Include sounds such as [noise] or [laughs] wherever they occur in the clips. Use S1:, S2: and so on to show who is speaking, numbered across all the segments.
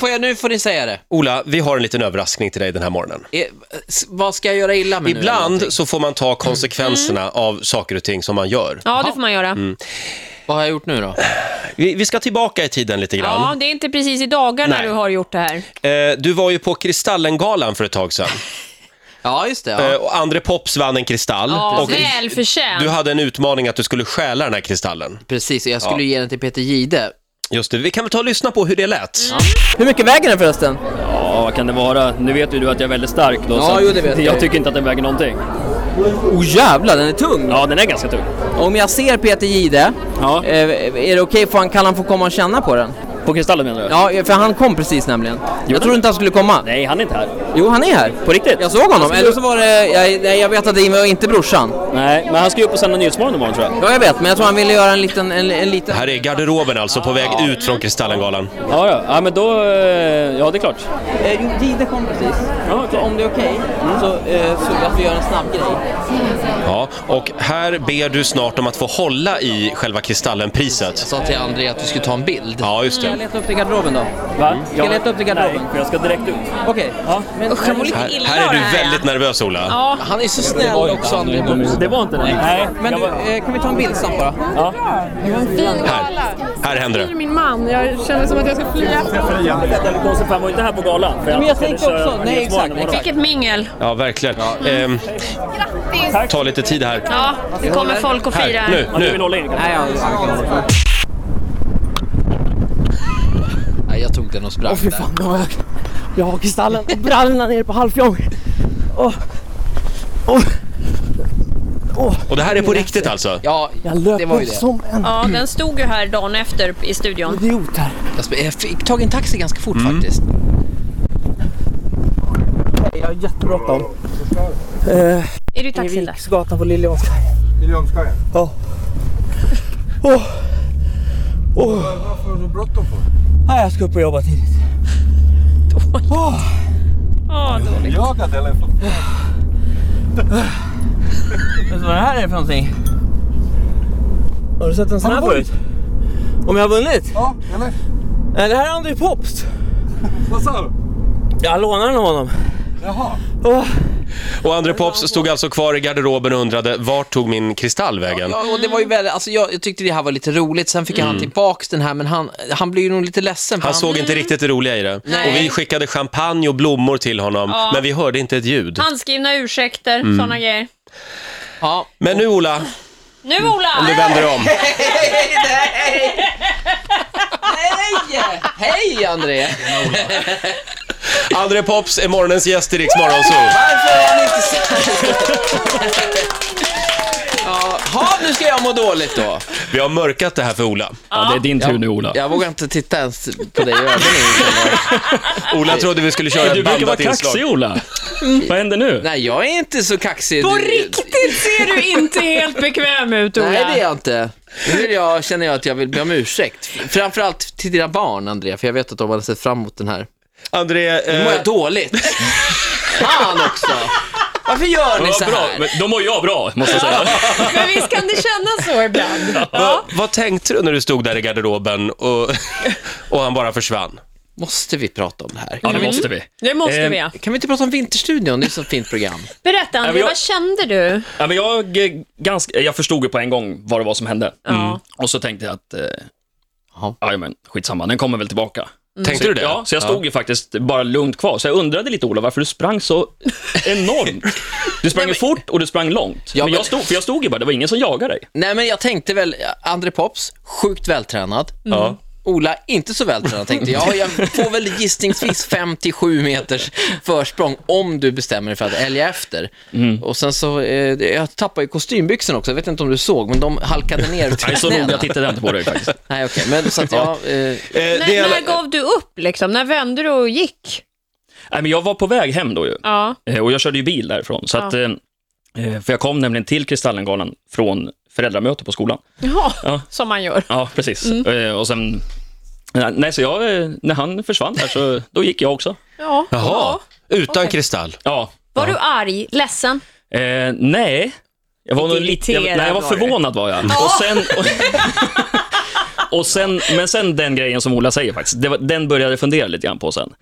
S1: får jag, nu får ni säga det.
S2: Ola, vi har en liten överraskning till dig den här morgonen.
S1: Eh, s- Vad ska jag göra illa mig nu? eller någonting?
S2: Ibland så får man ta konsekvenserna av saker och ting som man gör.
S3: Ja, det får man göra.
S2: Mm.
S1: Vad har jag gjort nu då?
S2: Vi, vi ska tillbaka i tiden lite
S3: Ja,
S2: grann.
S3: det är inte precis i dagarna
S2: Nej.
S3: du har gjort det här.
S2: Eh, du var ju på Kristallengalan för ett tag sedan.
S1: Ja, just det. Ja.
S2: Eh, och André Pops vann en kristall.
S3: Ja,
S2: och
S3: välförtjänt.
S2: du hade en utmaning att du skulle stjäla den här kristallen.
S1: Precis, jag skulle ge den till Peter Gide.
S2: Just det, vi kan väl ta och lyssna på hur det lät.
S4: Hur mycket väger den förresten?
S5: Ja, vad kan det vara? Nu vet ju du att jag är väldigt stark då.
S4: Ja,
S5: så att
S4: jo,
S5: [laughs]
S4: det vet
S5: jag.
S4: jag.
S5: tycker inte att den väger någonting.
S4: Oh jävlar, den är tung!
S5: Ja, den är ganska tung.
S4: Om jag ser Peter Gide,
S5: Ja.
S4: eh, är det okej? Får han, kan han få komma och känna på den?
S5: På Kristallen menar du?
S4: Ja, för han kom precis nämligen. Jag trodde inte han skulle komma.
S5: Nej, han är inte här.
S4: Jo, han är här.
S5: På riktigt?
S4: Jag såg honom, eller så var det... Jag, nej, jag vet att det var inte brorsan.
S5: Nej, men han ska ju upp och sända Nyhetsmorgon imorgon tror jag.
S4: Ja, jag vet, men jag tror han ville göra en liten... En, en liten...
S2: Här är garderoben alltså, på väg ut från Kristallengalan.
S5: Ja, då. ja men då... eh, Ja, det är klart.
S4: Eh, jo, Gide kom precis.
S5: Ja, okej.
S4: Så om det är okej,
S5: Mm.
S4: så, eh, så att vi gör en snabb grej.
S2: Ja, och här ber du snart om att få hålla i själva
S1: Jag
S2: Kristallenpriset.
S1: sa till André att vi skulle ta en bild.
S2: Ja, just
S4: Ska jag
S2: det.
S4: leta upp det i garderoben då?
S5: Va?
S4: jag leta upp till garderoben?
S5: Nej, för jag ska direkt ut.
S4: Okej.
S5: Ja.
S4: Men-
S3: Usch, jag mår lite
S2: Här,
S3: illa
S2: här är
S3: av det
S2: du väldigt
S3: ja.
S2: nervös, Ola.
S3: Ja,
S1: Han är så snäll också, André Pops.
S5: Det var inte det. Nej.
S4: Men
S5: jag
S4: du,
S5: var-
S4: eh, kan vi ta en bild snabbt bara?
S5: Ja.
S2: Här, här händer
S6: Det är
S2: det.
S6: min man. Jag känner som att jag ska fly efter
S5: Konstigt, för han var ju inte här på galan. För
S4: Men jag tänkte
S5: skulle köra
S4: också- nej,
S5: Nyhetsmorgon
S4: exakt,
S5: imorgon.
S3: vilket mingel.
S2: Ja, verkligen. Ehm, ta lite tid här.
S3: Ja, det kommer folk och firar.
S2: Här, nu,
S5: Ja, du vill
S2: nu.
S5: hålla in kanske?
S4: Nej, ja.
S1: Nej, jag tog den och sprang. där.
S4: Nu har jag, jag har kristallen och brallorna nere på halvfjång.
S2: Och det här är på riktigt alltså?
S1: Ja,
S4: Jag löper
S1: det var ju det.
S4: som en
S3: Ja, den stod ju här dagen efter i studion.
S4: idiot här.
S1: Jag sp- Jag fick tag i en taxi ganska fort
S2: Mm.
S1: faktiskt.
S4: Jag har jättebråttom.
S3: Är du i taxin där?
S4: Riksgatan på Liljeholmska.
S7: Liljeholmsskajen?
S4: Ja.
S7: Varför har du bråttom för?
S4: Nej, jag ska upp och jobba tidigt.
S3: Ja, dåligt.
S7: Jagat eller?
S4: Vet du vad det här är för någonting? Har du sett en sån här
S7: vunnit?
S4: förut? Om jag har vunnit?
S7: Ja, eller?
S4: Nej, det här är André Pops.
S7: Vad sa du?
S4: Jag lånar den av honom.
S7: Jaha.
S4: Åh,
S2: Och André Pops stod alltså kvar i garderoben och undrade, vart tog min kristall vägen?
S1: Ja, och det var ju väldigt, alltså jag, jag tyckte det här var lite roligt, sen fick han tillbaks den här, men han, han blev ju nog lite ledsen. för
S2: Mm. Han såg inte riktigt det roliga i det.
S3: Mm. Nej.
S2: Och vi skickade champagne och blommor till honom,
S3: Ja.
S2: men vi hörde inte ett ljud.
S3: Handskrivna ursäkter,
S2: Mm.
S3: såna grejer.
S1: Ja,
S2: Men nu Ola,
S3: Nu Ola!
S2: om du vänder om.
S1: Hej! Hej André!
S2: André Pops är morgonens gäst i Rix Morgonzoo.
S1: Varför är han inte snäll? Jaha, nu ska jag må dåligt då.
S2: Vi har mörkat det här för Ola.
S5: Ja, det är din tur nu Ola.
S1: Jag vågar inte titta ens på dig i ögonen.
S2: Ola trodde vi skulle köra
S5: Du
S2: ett
S5: brukar vara
S2: bandat
S5: kaxig
S2: inslag.
S5: Ola. Vad händer nu?
S1: Nej, jag är inte så kaxig.
S3: På
S1: Du-
S3: riktigt ser du inte helt bekväm ut Ola.
S1: Nej, det är jag inte. Nu vill jag, känner jag att jag vill be om ursäkt. Framförallt till dina barn, André, för jag vet att de hade sett fram emot den här.
S2: André,
S1: Nu
S5: Mm.
S2: eh,
S1: mår jag dåligt. Fan också. Varför gör ni så
S5: Bra,
S1: här?
S5: men då mår jag bra, måste jag säga.
S3: [laughs] Men visst kan det kännas så ibland?
S2: vad, vad tänkte du när du stod där i garderoben och, [laughs] och han bara försvann?
S1: Måste vi prata om det här?
S4: Mm.
S5: Ja, det måste vi.
S3: Det måste
S2: Ehm,
S5: Eh,
S3: vi ja.
S1: Kan vi inte prata om Vinterstudion? Det är ett så fint program.
S3: Berätta André,
S5: men jag-
S3: vad kände du?
S5: Ja, men jag, eh, ganska, jag förstod ju på en gång vad det var som hände. Mm.
S3: Ja.
S5: Och så tänkte jag att, eh,
S1: Ja.
S5: ja men skitsamma, den kommer väl tillbaka.
S2: Tänkte
S5: Mm. så,
S2: du det?
S5: Ja, så jag stod ju faktiskt bara lugnt kvar. Så jag undrade lite, Ola, varför du sprang så enormt. Du sprang ju fort och du sprang långt.
S1: Ja,
S5: men
S1: men-
S5: jag stod, för jag stod ju bara, det var ingen som jagade dig.
S1: Nej, men jag tänkte väl, André Pops, sjukt vältränad. Ja. Ola, inte så vältränad tänkte jag. Jag får väl
S5: [laughs]
S1: gissningsvis 5-7 meters försprång om du bestämmer dig för att älga efter.
S5: Mm.
S1: Och sen så, eh, jag tappade ju kostymbyxorna också, jag vet inte om du såg, men de halkade ner
S5: [laughs] Nej,
S1: till
S5: så noga
S1: knäna.
S5: tittade jag inte på dig faktiskt.
S1: Nej, okej, men så att jag... Eh,
S2: Eh,
S3: När,
S2: det är-
S3: när gav du upp liksom? När vände du och gick?
S5: Nej, men jag var på väg hem då ju.
S3: Ja.
S5: Eh, Och jag körde ju bil därifrån. Så att, eh, för jag kom nämligen till Kristallengalan från föräldramöte på skolan.
S3: Jaha,
S5: Ja.
S3: som man gör.
S5: Ja, precis. Eh, Och sen... Nej, så jag, eh, när han försvann där, så då gick jag också.
S3: Ja.
S2: Jaha,
S3: Ja.
S2: utan
S3: Okej.
S2: kristall.
S5: Ja.
S3: Var du arg, ledsen?
S5: Eh, nej. Jag var nog lite... Jag, nej, jag var
S3: Irriterad var du.
S5: förvånad var jag. Och [laughs] sen... Och, Och sen, men sen den grejen som Ola säger faktiskt, det var, den började jag fundera lite grann på sen.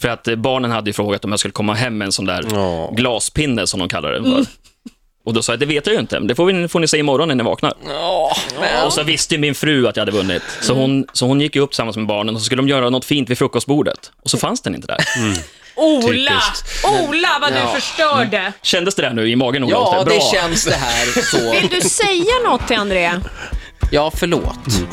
S5: För att eh, barnen hade ju frågat om jag skulle komma hem med en sån där
S2: Ja.
S5: glaspinne som de kallar den för. Och då sa jag, det vet jag ju inte, men det får, vi, får ni se imorgon när ni vaknar.
S1: Åh, men...
S5: Och så visste ju min fru att jag hade vunnit, så hon, så hon gick ju upp tillsammans med barnen och så skulle de göra något fint vid frukostbordet. Och så fanns den inte där.
S3: Ola!
S2: Typiskt.
S3: Ola, vad
S1: Ja.
S3: du förstörde!
S5: Kändes det där nu i magen, Ola?
S1: Ja,
S5: Bra.
S1: det känns det här så.
S5: [laughs]
S3: Vill du säga något till André?
S1: Ja, förlåt.
S5: Mm.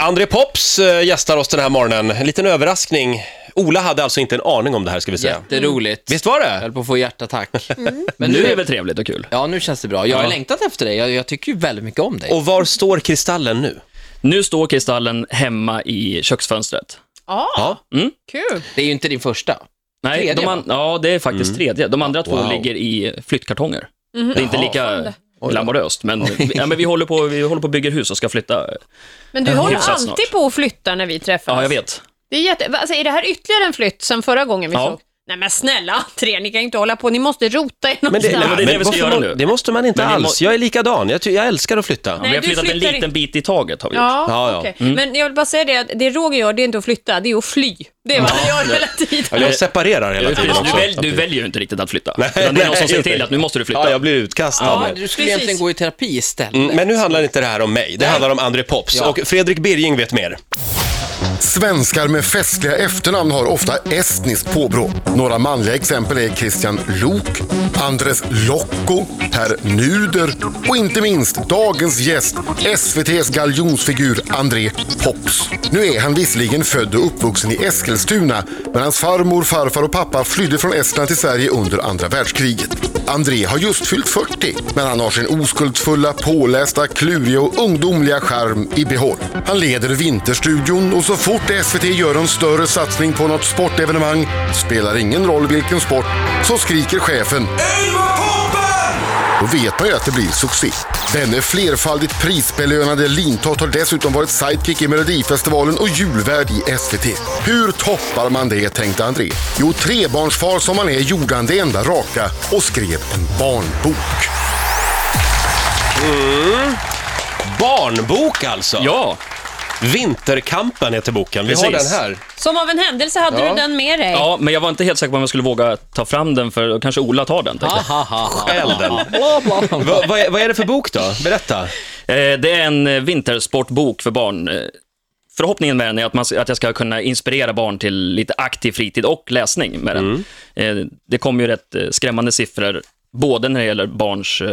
S2: André Pops eh, gästar oss den här morgonen. En liten överraskning. Ola hade alltså inte en aning om det här, ska vi säga.
S1: Jätteroligt.
S2: Visst var
S1: Jag
S2: det?
S1: höll på att få hjärtattack. Men
S5: Nu är det
S1: nu,
S5: väl trevligt och kul?
S1: ja, nu känns det bra. Jag har
S5: Mm. Ja.
S1: längtat efter dig. Jag, jag tycker ju väldigt mycket om dig.
S2: Och var står Kristallen nu?
S5: Nu står kristallen hemma i köksfönstret.
S2: Ja.
S3: Kul.
S1: Det är ju inte din första.
S5: Nej,
S1: Tredje,
S5: de an- ja, det är faktiskt tredje. De andra två
S2: Mm. Wow.
S5: ligger i flyttkartonger.
S3: Mhm.
S5: Det är inte lika glamoröst, men, ja, men vi, håller på, vi håller på och bygger hus och ska flytta.
S3: Men du
S5: Ja,
S3: håller
S5: hyfsat
S3: alltid
S5: snart.
S3: på och flyttar när vi träffas.
S5: Ja, jag vet.
S3: Det är, jätte... Va, alltså, är det här ytterligare en flytt sen förra gången vi
S5: Ja.
S3: såg? Nej men snälla tre, ni kan ju inte hålla på, ni måste rota er någonstans.
S5: nej, men det är det vi ska
S2: varför
S5: göra
S2: må-
S5: nu.
S2: Det måste man inte
S5: Men vi må-
S2: alls. Jag är likadan. Jag, ty- jag älskar att flytta.
S5: vi har
S3: du
S5: flyttat en
S3: flyttar
S5: liten
S3: in-
S5: bit i taget. Har vi gjort.
S3: Ja,
S2: Ja, ja.
S3: okej.
S5: Mm.
S3: Men jag vill bara säga det, att det Roger gör, det är inte att flytta, det är att fly. Det är vad han gör hela
S2: Ja,
S3: tiden.
S2: Jag separerar hela tiden
S5: Precis,
S2: också.
S5: du, väl, du väljer ju inte riktigt att flytta. utan det är någon som säger till att nu måste du flytta.
S2: Ja, jag blir utkastad.
S1: Ja, du skulle
S3: precis.
S1: egentligen gå i terapi istället.
S2: Mm, Men nu handlar inte det här om mig. Det handlar om André Pops.
S1: Ja.
S2: Och Fredrik Birging vet mer.
S8: Svenskar med festliga efternamn har ofta estniskt påbrå. Några manliga exempel är Christian Lok, Andres Lokko, Per Nuder och inte minst dagens gäst, SVTs galjonsfigur André Pops. Nu är han visserligen född och uppvuxen i Eskilstuna, men hans farmor, farfar och pappa flydde från Estland till Sverige under andra världskriget. André har just fyllt 40, men han har sin oskuldsfulla, pålästa, kluriga och ungdomliga charm i behåll. Han leder Vinterstudion och så fort SVT gör en större satsning på något sportevenemang, spelar ingen roll vilken sport, så skriker chefen då vet man ju att det blir succé. Denne flerfaldigt prisbelönade Lintott har dessutom varit sidekick i Melodifestivalen och julvärd i SVT. Hur toppar man det, tänkte André. Jo, trebarnsfar som han är gjorde han det enda raka och skrev en barnbok.
S2: Barnbok alltså.
S5: Ja,
S2: Vinterkampen heter boken. Vi har den
S5: Precis.
S2: här.
S3: Som av en händelse hade du den med dig.
S5: ja, men jag var inte helt säker på om jag skulle våga ta fram den, för då kanske Ola tar den. tänkte jag.
S2: Elden.
S5: [laughs]
S2: Va- Vad är- vad är det för bok då? Berätta.
S5: Eh, Det är en eh, vintersportbok för barn. Eh, Förhoppningen med den är att, man, att jag ska kunna inspirera barn till lite aktiv fritid och läsning med den.
S2: Mm.
S5: Eh, Det kommer ju rätt eh, skrämmande siffror, både när det gäller barns eh,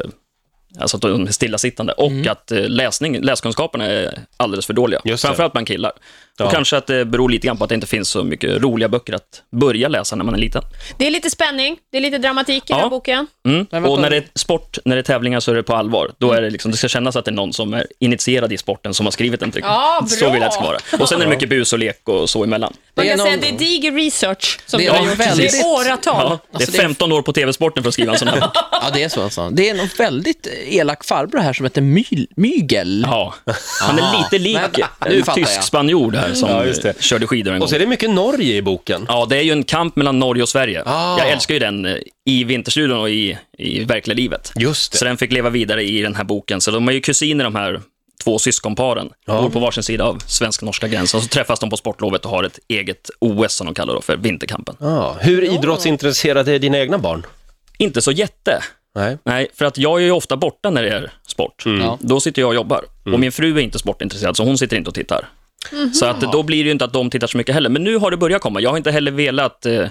S5: Alltså att de är stillasittande och att eh, läsning, läskunskaperna är alldeles för dåliga.
S2: Mm. Just det.
S5: Framförallt bland killar. Och kanske att det beror lite grann på att det inte finns så mycket roliga böcker att börja läsa när man är liten.
S3: Det är lite spänning, det är lite dramatik i den här
S5: Ja.
S3: boken.
S5: Mm.
S1: vänta.
S5: Och när det är sport, när det är tävlingar så är det på allvar. Då är det liksom, det ska kännas att det är någon som är initierad i sporten som har skrivit den. tycker jag.
S3: Ja, bra.
S5: Så vill jag att det ska vara. Och sen är det mycket bus och lek och så emellan.
S3: Man
S1: Det är
S3: kan säga att det
S1: någon-
S3: är diger research som
S1: Det
S3: du
S1: är
S3: har gjort.
S1: väldigt-
S3: Det är åratal.
S5: Ja, det
S1: Alltså, det
S5: är
S1: är-
S5: 15 år på TV-sporten för att skriva en sån här.
S1: Ja, det är så alltså. Det är någon väldigt elak farbror här som heter My- Mygel.
S5: Ja. Han
S1: Ah.
S5: är lite
S1: Men-
S5: lik
S1: nu
S5: en
S1: fattar jag.
S5: tysk spanjor där som
S2: Ja, just det.
S5: körde skidor en gång.
S2: Och så är det mycket Norge i boken.
S5: Ja, det är ju en kamp mellan Norge och Sverige.
S2: Ah.
S5: Jag älskar ju den eh, i Vinterstudion och i, i verkliga livet.
S2: Just det.
S5: Så den fick leva vidare i den här boken. Så de är ju kusiner de här två syskonparen. De bor på varsin sida av svensk-norska gränsen. Så träffas de på sportlovet och har ett eget OS som de kallar det för, vinterkampen.
S2: Ja. Hur idrottsintresserade är dina egna barn?
S5: Inte så jätte.
S2: Nej.
S5: Nej, för att jag är ju ofta borta när det är sport.
S1: Ja.
S5: Då sitter jag och jobbar.
S2: Mm.
S5: Och min fru är inte sportintresserad, så hon sitter inte och tittar.
S2: Mhm.
S5: Så att då blir det ju inte att de tittar så mycket heller. Men nu har det börjat komma. Jag har inte heller velat eh,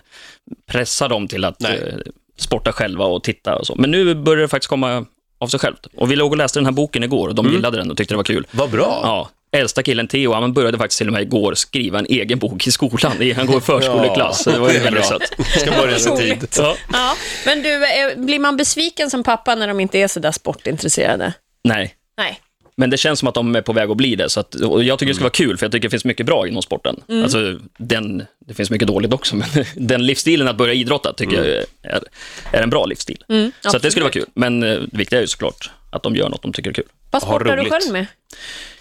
S5: pressa dem till att
S2: Nej.
S5: eh, sporta själva och titta och så. Men nu börjar det faktiskt komma av sig självt. Och vi låg och läste den här boken igår och de gillade den och tyckte det var kul.
S2: Mm. Vad bra.
S5: Ja. Äldsta killen Theo, han började faktiskt till och med igår skriva en egen bok i skolan.
S2: [laughs]
S5: Han går i förskoleklass, så det var ju väldigt sött.
S2: Ska börja sin tid.
S3: Otroligt.
S2: [laughs]
S5: Ja.
S3: Ja. Men du, eh, blir man besviken som pappa när de inte är så där sportintresserade?
S5: Nej,
S3: Nej.
S5: Men det känns som att de är på väg att bli det. Så att, och jag tycker det ska vara kul, för jag tycker det finns mycket bra inom sporten. Alltså, den, det finns mycket dåligt också, [laughs] men den livsstilen att börja idrotta tycker jag är, är en bra livsstil. så att det skulle vara kul. Men eh, det viktiga är ju såklart att de gör något de tycker är kul.
S3: Vad sportar du
S2: roligt.
S3: själv med?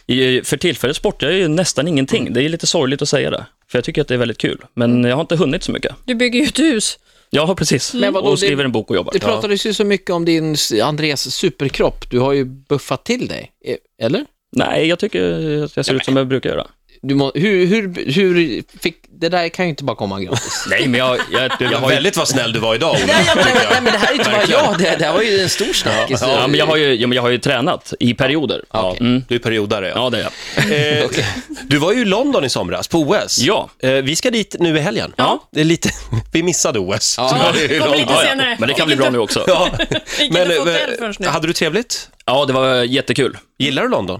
S5: I, för tillfället sportar jag ju nästan ingenting. Det är lite sorgligt att säga det, för jag tycker att det är väldigt kul. Men jag har inte hunnit så mycket.
S3: Du bygger ju ett hus.
S5: Ja, [laughs] precis.
S1: Men vadå,
S5: och skriver
S1: det-
S5: en bok och jobbar.
S1: Det pratades ju så mycket om din Andres superkropp. Du har ju buffat till dig, Eh, eller?
S5: Nej, jag tycker att jag ser ut som jag brukar göra.
S1: Du må, hur, hur, hur fick... Det där kan ju inte bara komma gratis.
S5: Nej, men jag, jag, jag,
S2: Jag
S5: har ju...
S2: Väldigt vad snäll du var idag, Ola.
S1: nej, men, nej, men det här är inte bara
S2: Verkligen.
S1: jag. Det, det här var ju en stor snackis.
S5: Ja, men jag har ju, ja, men jag har ju tränat i perioder. Ja,
S1: Okej.
S5: mm.
S2: Du är periodare,
S5: ja det är jag.
S2: Eh, Du var ju i London i somras, på OS.
S5: Ja.
S2: Eh, Vi ska dit nu i helgen.
S5: Ja.
S2: Det är lite... [laughs] Vi missade OS.
S1: Ja.
S2: Så var det i
S3: Kommer
S5: [laughs]
S2: London.
S3: lite
S5: Ja,
S3: senare.
S5: ja. Men det kan bli bra nu också.
S2: Ja.
S3: Vilket
S2: Men,
S3: hotell
S2: eh,
S3: först nu.
S2: hade du trevligt?
S5: Ja, det var jättekul.
S2: Gillar du London?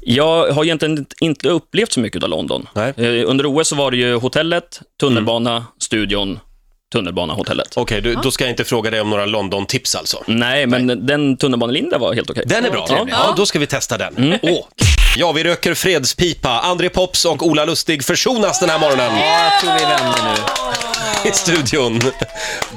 S5: Jag har egentligen inte- inte upplevt så mycket av London.
S2: Nej. Mm.
S5: Eh, Under OS så var det ju hotellet, tunnelbana, studion, tunnelbana, hotellet.
S2: Okej, du- då ska jag inte fråga dig om några London-tips alltså.
S5: Nej, men den tunnelbanelinjen var helt okej.
S2: Den är bra. Ja.
S5: Mm. Ja.
S2: ja, då ska vi testa den. Åh. Ja, vi röker fredspipa. André Pops och Ola Lustig försonas den här morgonen
S1: Ja, jag tror vi vänder nu.
S2: i studion.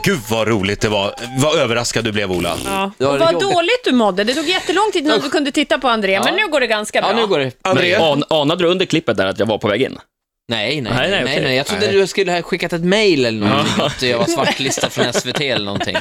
S2: Gud vad roligt det var. Vad överraskad du blev Ola.
S3: Ja.
S1: var
S3: Och vad
S1: jobbigt.
S3: dåligt du mådde. Det tog jättelång tid innan du kunde titta på André, men nu går det ganska bra.
S1: Ja, nu går det.
S2: André?
S5: Men an, anade du under klippet där att jag var på väg in?
S1: Nej, nej, nej, nej,
S5: Nej, nej,
S1: nej,
S5: okej.
S1: Jag trodde
S2: Nej.
S1: du skulle ha skickat ett mail eller någonting, att jag var svartlistad från SVT eller någonting.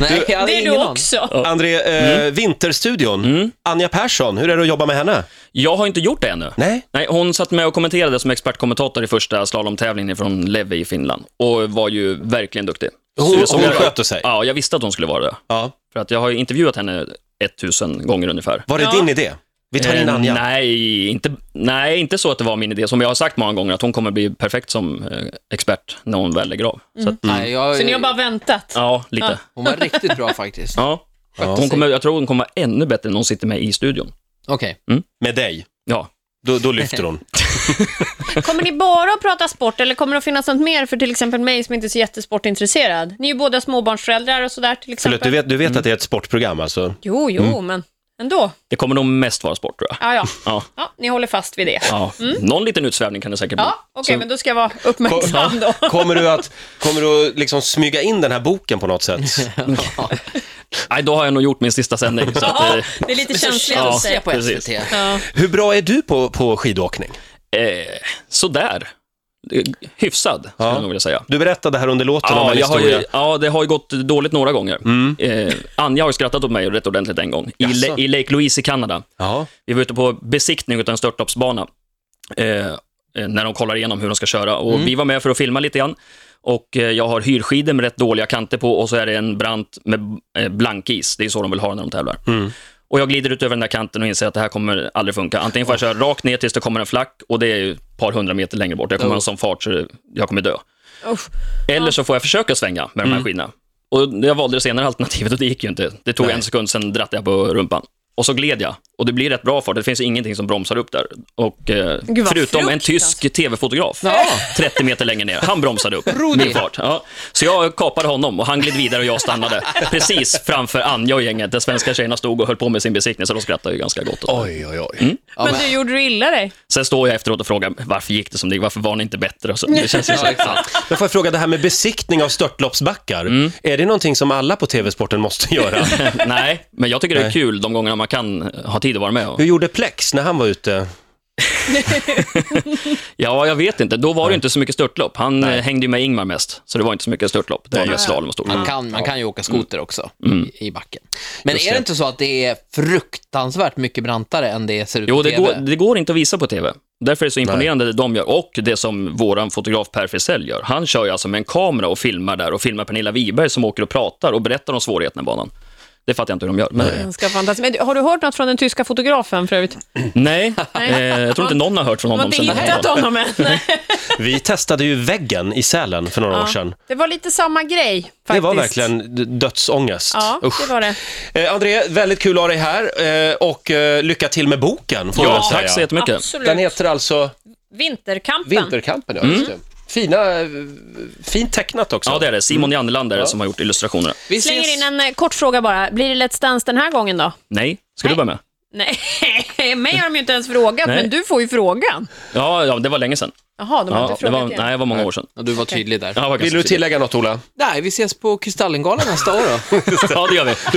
S1: Nej, jag hade
S3: Det är
S1: ingen
S3: du
S1: aning.
S3: också.
S2: André, eh, Vinterstudion. Anja Persson, hur är det att jobba med henne?
S5: Jag har inte gjort det ännu.
S2: Nej?
S5: Nej, hon satt med och kommenterade som expertkommentator i första slalomtävlingen från Levi i Finland och var ju verkligen duktig.
S2: Hon-
S5: Så- som
S2: hon
S5: jag-
S2: sköter sig.
S5: Ja, jag visste att hon skulle vara det.
S2: Ja.
S5: För att jag har ju intervjuat henne 1000 gånger ungefär.
S2: Var det din idé? Vi tar in
S5: Eh,
S2: Anja.
S5: nej, inte, nej, inte så att det var min idé. Som jag har sagt många gånger, att hon kommer bli perfekt som eh, expert när hon väl lägger av. Så att,
S1: Nej, jag,
S3: Så ni har bara väntat.
S5: ja, [laughs] lite.
S1: Hon var riktigt bra faktiskt.
S5: Ja. Hon kommer, jag tror hon kommer vara ännu bättre än hon sitter med i studion.
S1: Okej.
S2: Med dig.
S5: Ja.
S2: Då, då lyfter hon.
S3: Kommer ni bara att prata sport eller kommer det att finnas något mer för till exempel mig som inte är så jättesportintresserad? Ni är ju båda småbarnsföräldrar och sådär till exempel.
S2: Förlåt, du vet, du vet att det är ett sportprogram alltså?
S3: Jo, jo, men ändå.
S5: Det kommer nog mest vara sport, tror
S3: Ja,
S5: jag.
S3: ja.
S5: Mm. [laughs] Ja.
S3: ja, ni håller fast vid det.
S5: Ja. Någon liten utsvävning kan det säkert bli.
S3: Ja, okej, men då ska jag vara uppmärksam då.
S2: Kommer du att kommer du att liksom smyga in den här boken på något sätt?
S5: [laughs] Nej, då har jag nog gjort min sista sändning. Så att,
S3: [laughs] Ja,
S5: eh,
S3: det är lite känsligt
S5: Ja,
S3: att säga.
S1: på
S5: precis.
S1: SVT.
S2: Hur bra är du på, på skidåkning?
S5: eh, sådär. Eh, Hyfsad, skulle jag nog vilja säga.
S2: Du berättade här under låten om
S5: Ja,
S2: en
S5: jag har
S2: historia. Mm.
S5: ju, ja, det har ju gått dåligt några gånger. Eh, Anja har ju skrattat åt mig rätt ordentligt en gång, i,
S2: Jaså?
S5: Le- i Lake Louise i Kanada.
S2: Ja.
S5: Vi var ute på besiktning av en störtloppsbana, eh, eh, när de kollar igenom hur de ska köra. Och
S2: Mm.
S5: Vi var med för att filma lite grann. Och eh, jag har hyrskidor med rätt dåliga kanter på och så är det en brant med eh, blankis. Det är så de vill ha när de tävlar. Och Jag glider ut över den där kanten och inser att det här kommer aldrig funka. Antingen får jag köra rakt ner tills det kommer en flack och det är ju ett par hundra meter längre bort. Jag kommer ha en sån fart så det- jag kommer dö.
S3: Usch.
S5: Eller så får jag försöka svänga med de här skidorna. Och jag valde det senare alternativet och det gick ju inte. Det tog en sekund, sen drattade jag på rumpan. Och så gled jag. Och det blir rätt bra fart. Det finns ju ingenting som bromsar upp där. Och, eh,
S3: Gud, vad
S5: förutom en
S3: frukt,
S5: tysk tv-fotograf, 30 meter längre ner. Han bromsade upp min fart. Ja. Så jag kapade honom och han gled vidare och jag stannade. Precis framför Anja och gänget, där svenska tjejerna stod och höll på med sin besiktning, så de skrattade ju ganska gott. åt det.
S2: Oj, oj, oj.
S1: Ja,
S3: Men
S1: men,
S3: du, gjorde du illa dig?
S5: Sen står jag efteråt och frågar, varför gick det som det gick? Varför var ni inte bättre? Och så, det känns
S1: [laughs]
S5: ju så.
S2: Då får jag fråga, det här med besiktning av störtloppsbackar,
S5: Mm.
S2: är det någonting som alla på TV-sporten måste
S5: [laughs]
S2: göra?
S5: Nej, men jag tycker det är kul de gångerna man kan ha tid att vara med. Och,
S2: Hur gjorde Plex när han var ute?
S5: Ja, jag vet inte. Då var det inte så mycket störtlopp. Han eh, hängde ju med Ingmar mest, så det var inte så mycket störtlopp. Det var mest slalom och
S1: man,
S5: storlopp.
S1: kan, man kan ju åka skoter också
S5: Mm.
S1: i, i backen. Men är det inte så att det är fruktansvärt mycket brantare än det ser ut
S5: Jo,
S1: på
S5: det
S1: TV?
S5: går, det går inte att visa på TV. Därför är det så imponerande det de gör och det som vår fotograf Per Frisell gör. Han kör ju alltså med en kamera och filmar där och filmar Pernilla Wiberg som åker och pratar och berättar om svårigheterna i banan. Det fattar jag inte hur de gör. Men, nej,
S3: Ganska fantastiskt. Men du, har du hört något från den tyska fotografen för övrigt? Nej.
S5: Eh, jag tror inte någon har hört från
S3: De har
S5: honom
S3: inte
S5: sen den här
S3: hittat
S5: dagen.
S3: honom
S5: [laughs]
S3: än.
S2: Vi testade ju väggen i Sälen för några år
S3: Ja.
S2: sedan.
S3: Det var lite samma grej faktiskt.
S2: Det var verkligen d- dödsångest.
S3: Ja,
S2: Usch.
S3: det var det.
S2: Eh, André, väldigt kul att ha dig här eh, och eh, lycka till med boken. Får jag väl
S5: Ja,
S2: säga.
S5: tack så jättemycket.
S3: Absolut.
S2: Den heter alltså
S3: Vinterkampen.
S2: Vinterkampen, ja, just det. Fina, eh, fint tecknat också.
S5: Mm. Ja, det är det. Simon Jandeland är det som har gjort illustrationerna.
S1: Vi
S3: Slänger
S1: ses.
S3: in en eh, kort fråga bara. Blir det Let's Dance den här gången då? [laughs]
S5: Nej, ska du börja med?
S3: Nej, [laughs] mig har de ju inte ens frågat,
S5: Nej.
S3: men du får ju frågan.
S5: Ja, ja det var länge sedan.
S3: Jaha, de har
S5: Ja,
S3: inte
S5: det
S3: frågat
S5: var,
S3: igen.
S5: nej, det var många år sedan.
S1: Ja, du var tydlig där.
S5: Ja, det var
S2: Vill
S5: ganska
S2: du
S5: tidigt.
S2: tillägga något, Ola?
S1: Nej, vi ses på Kristallengalan nästa år då.
S5: [laughs] Ja, det gör vi.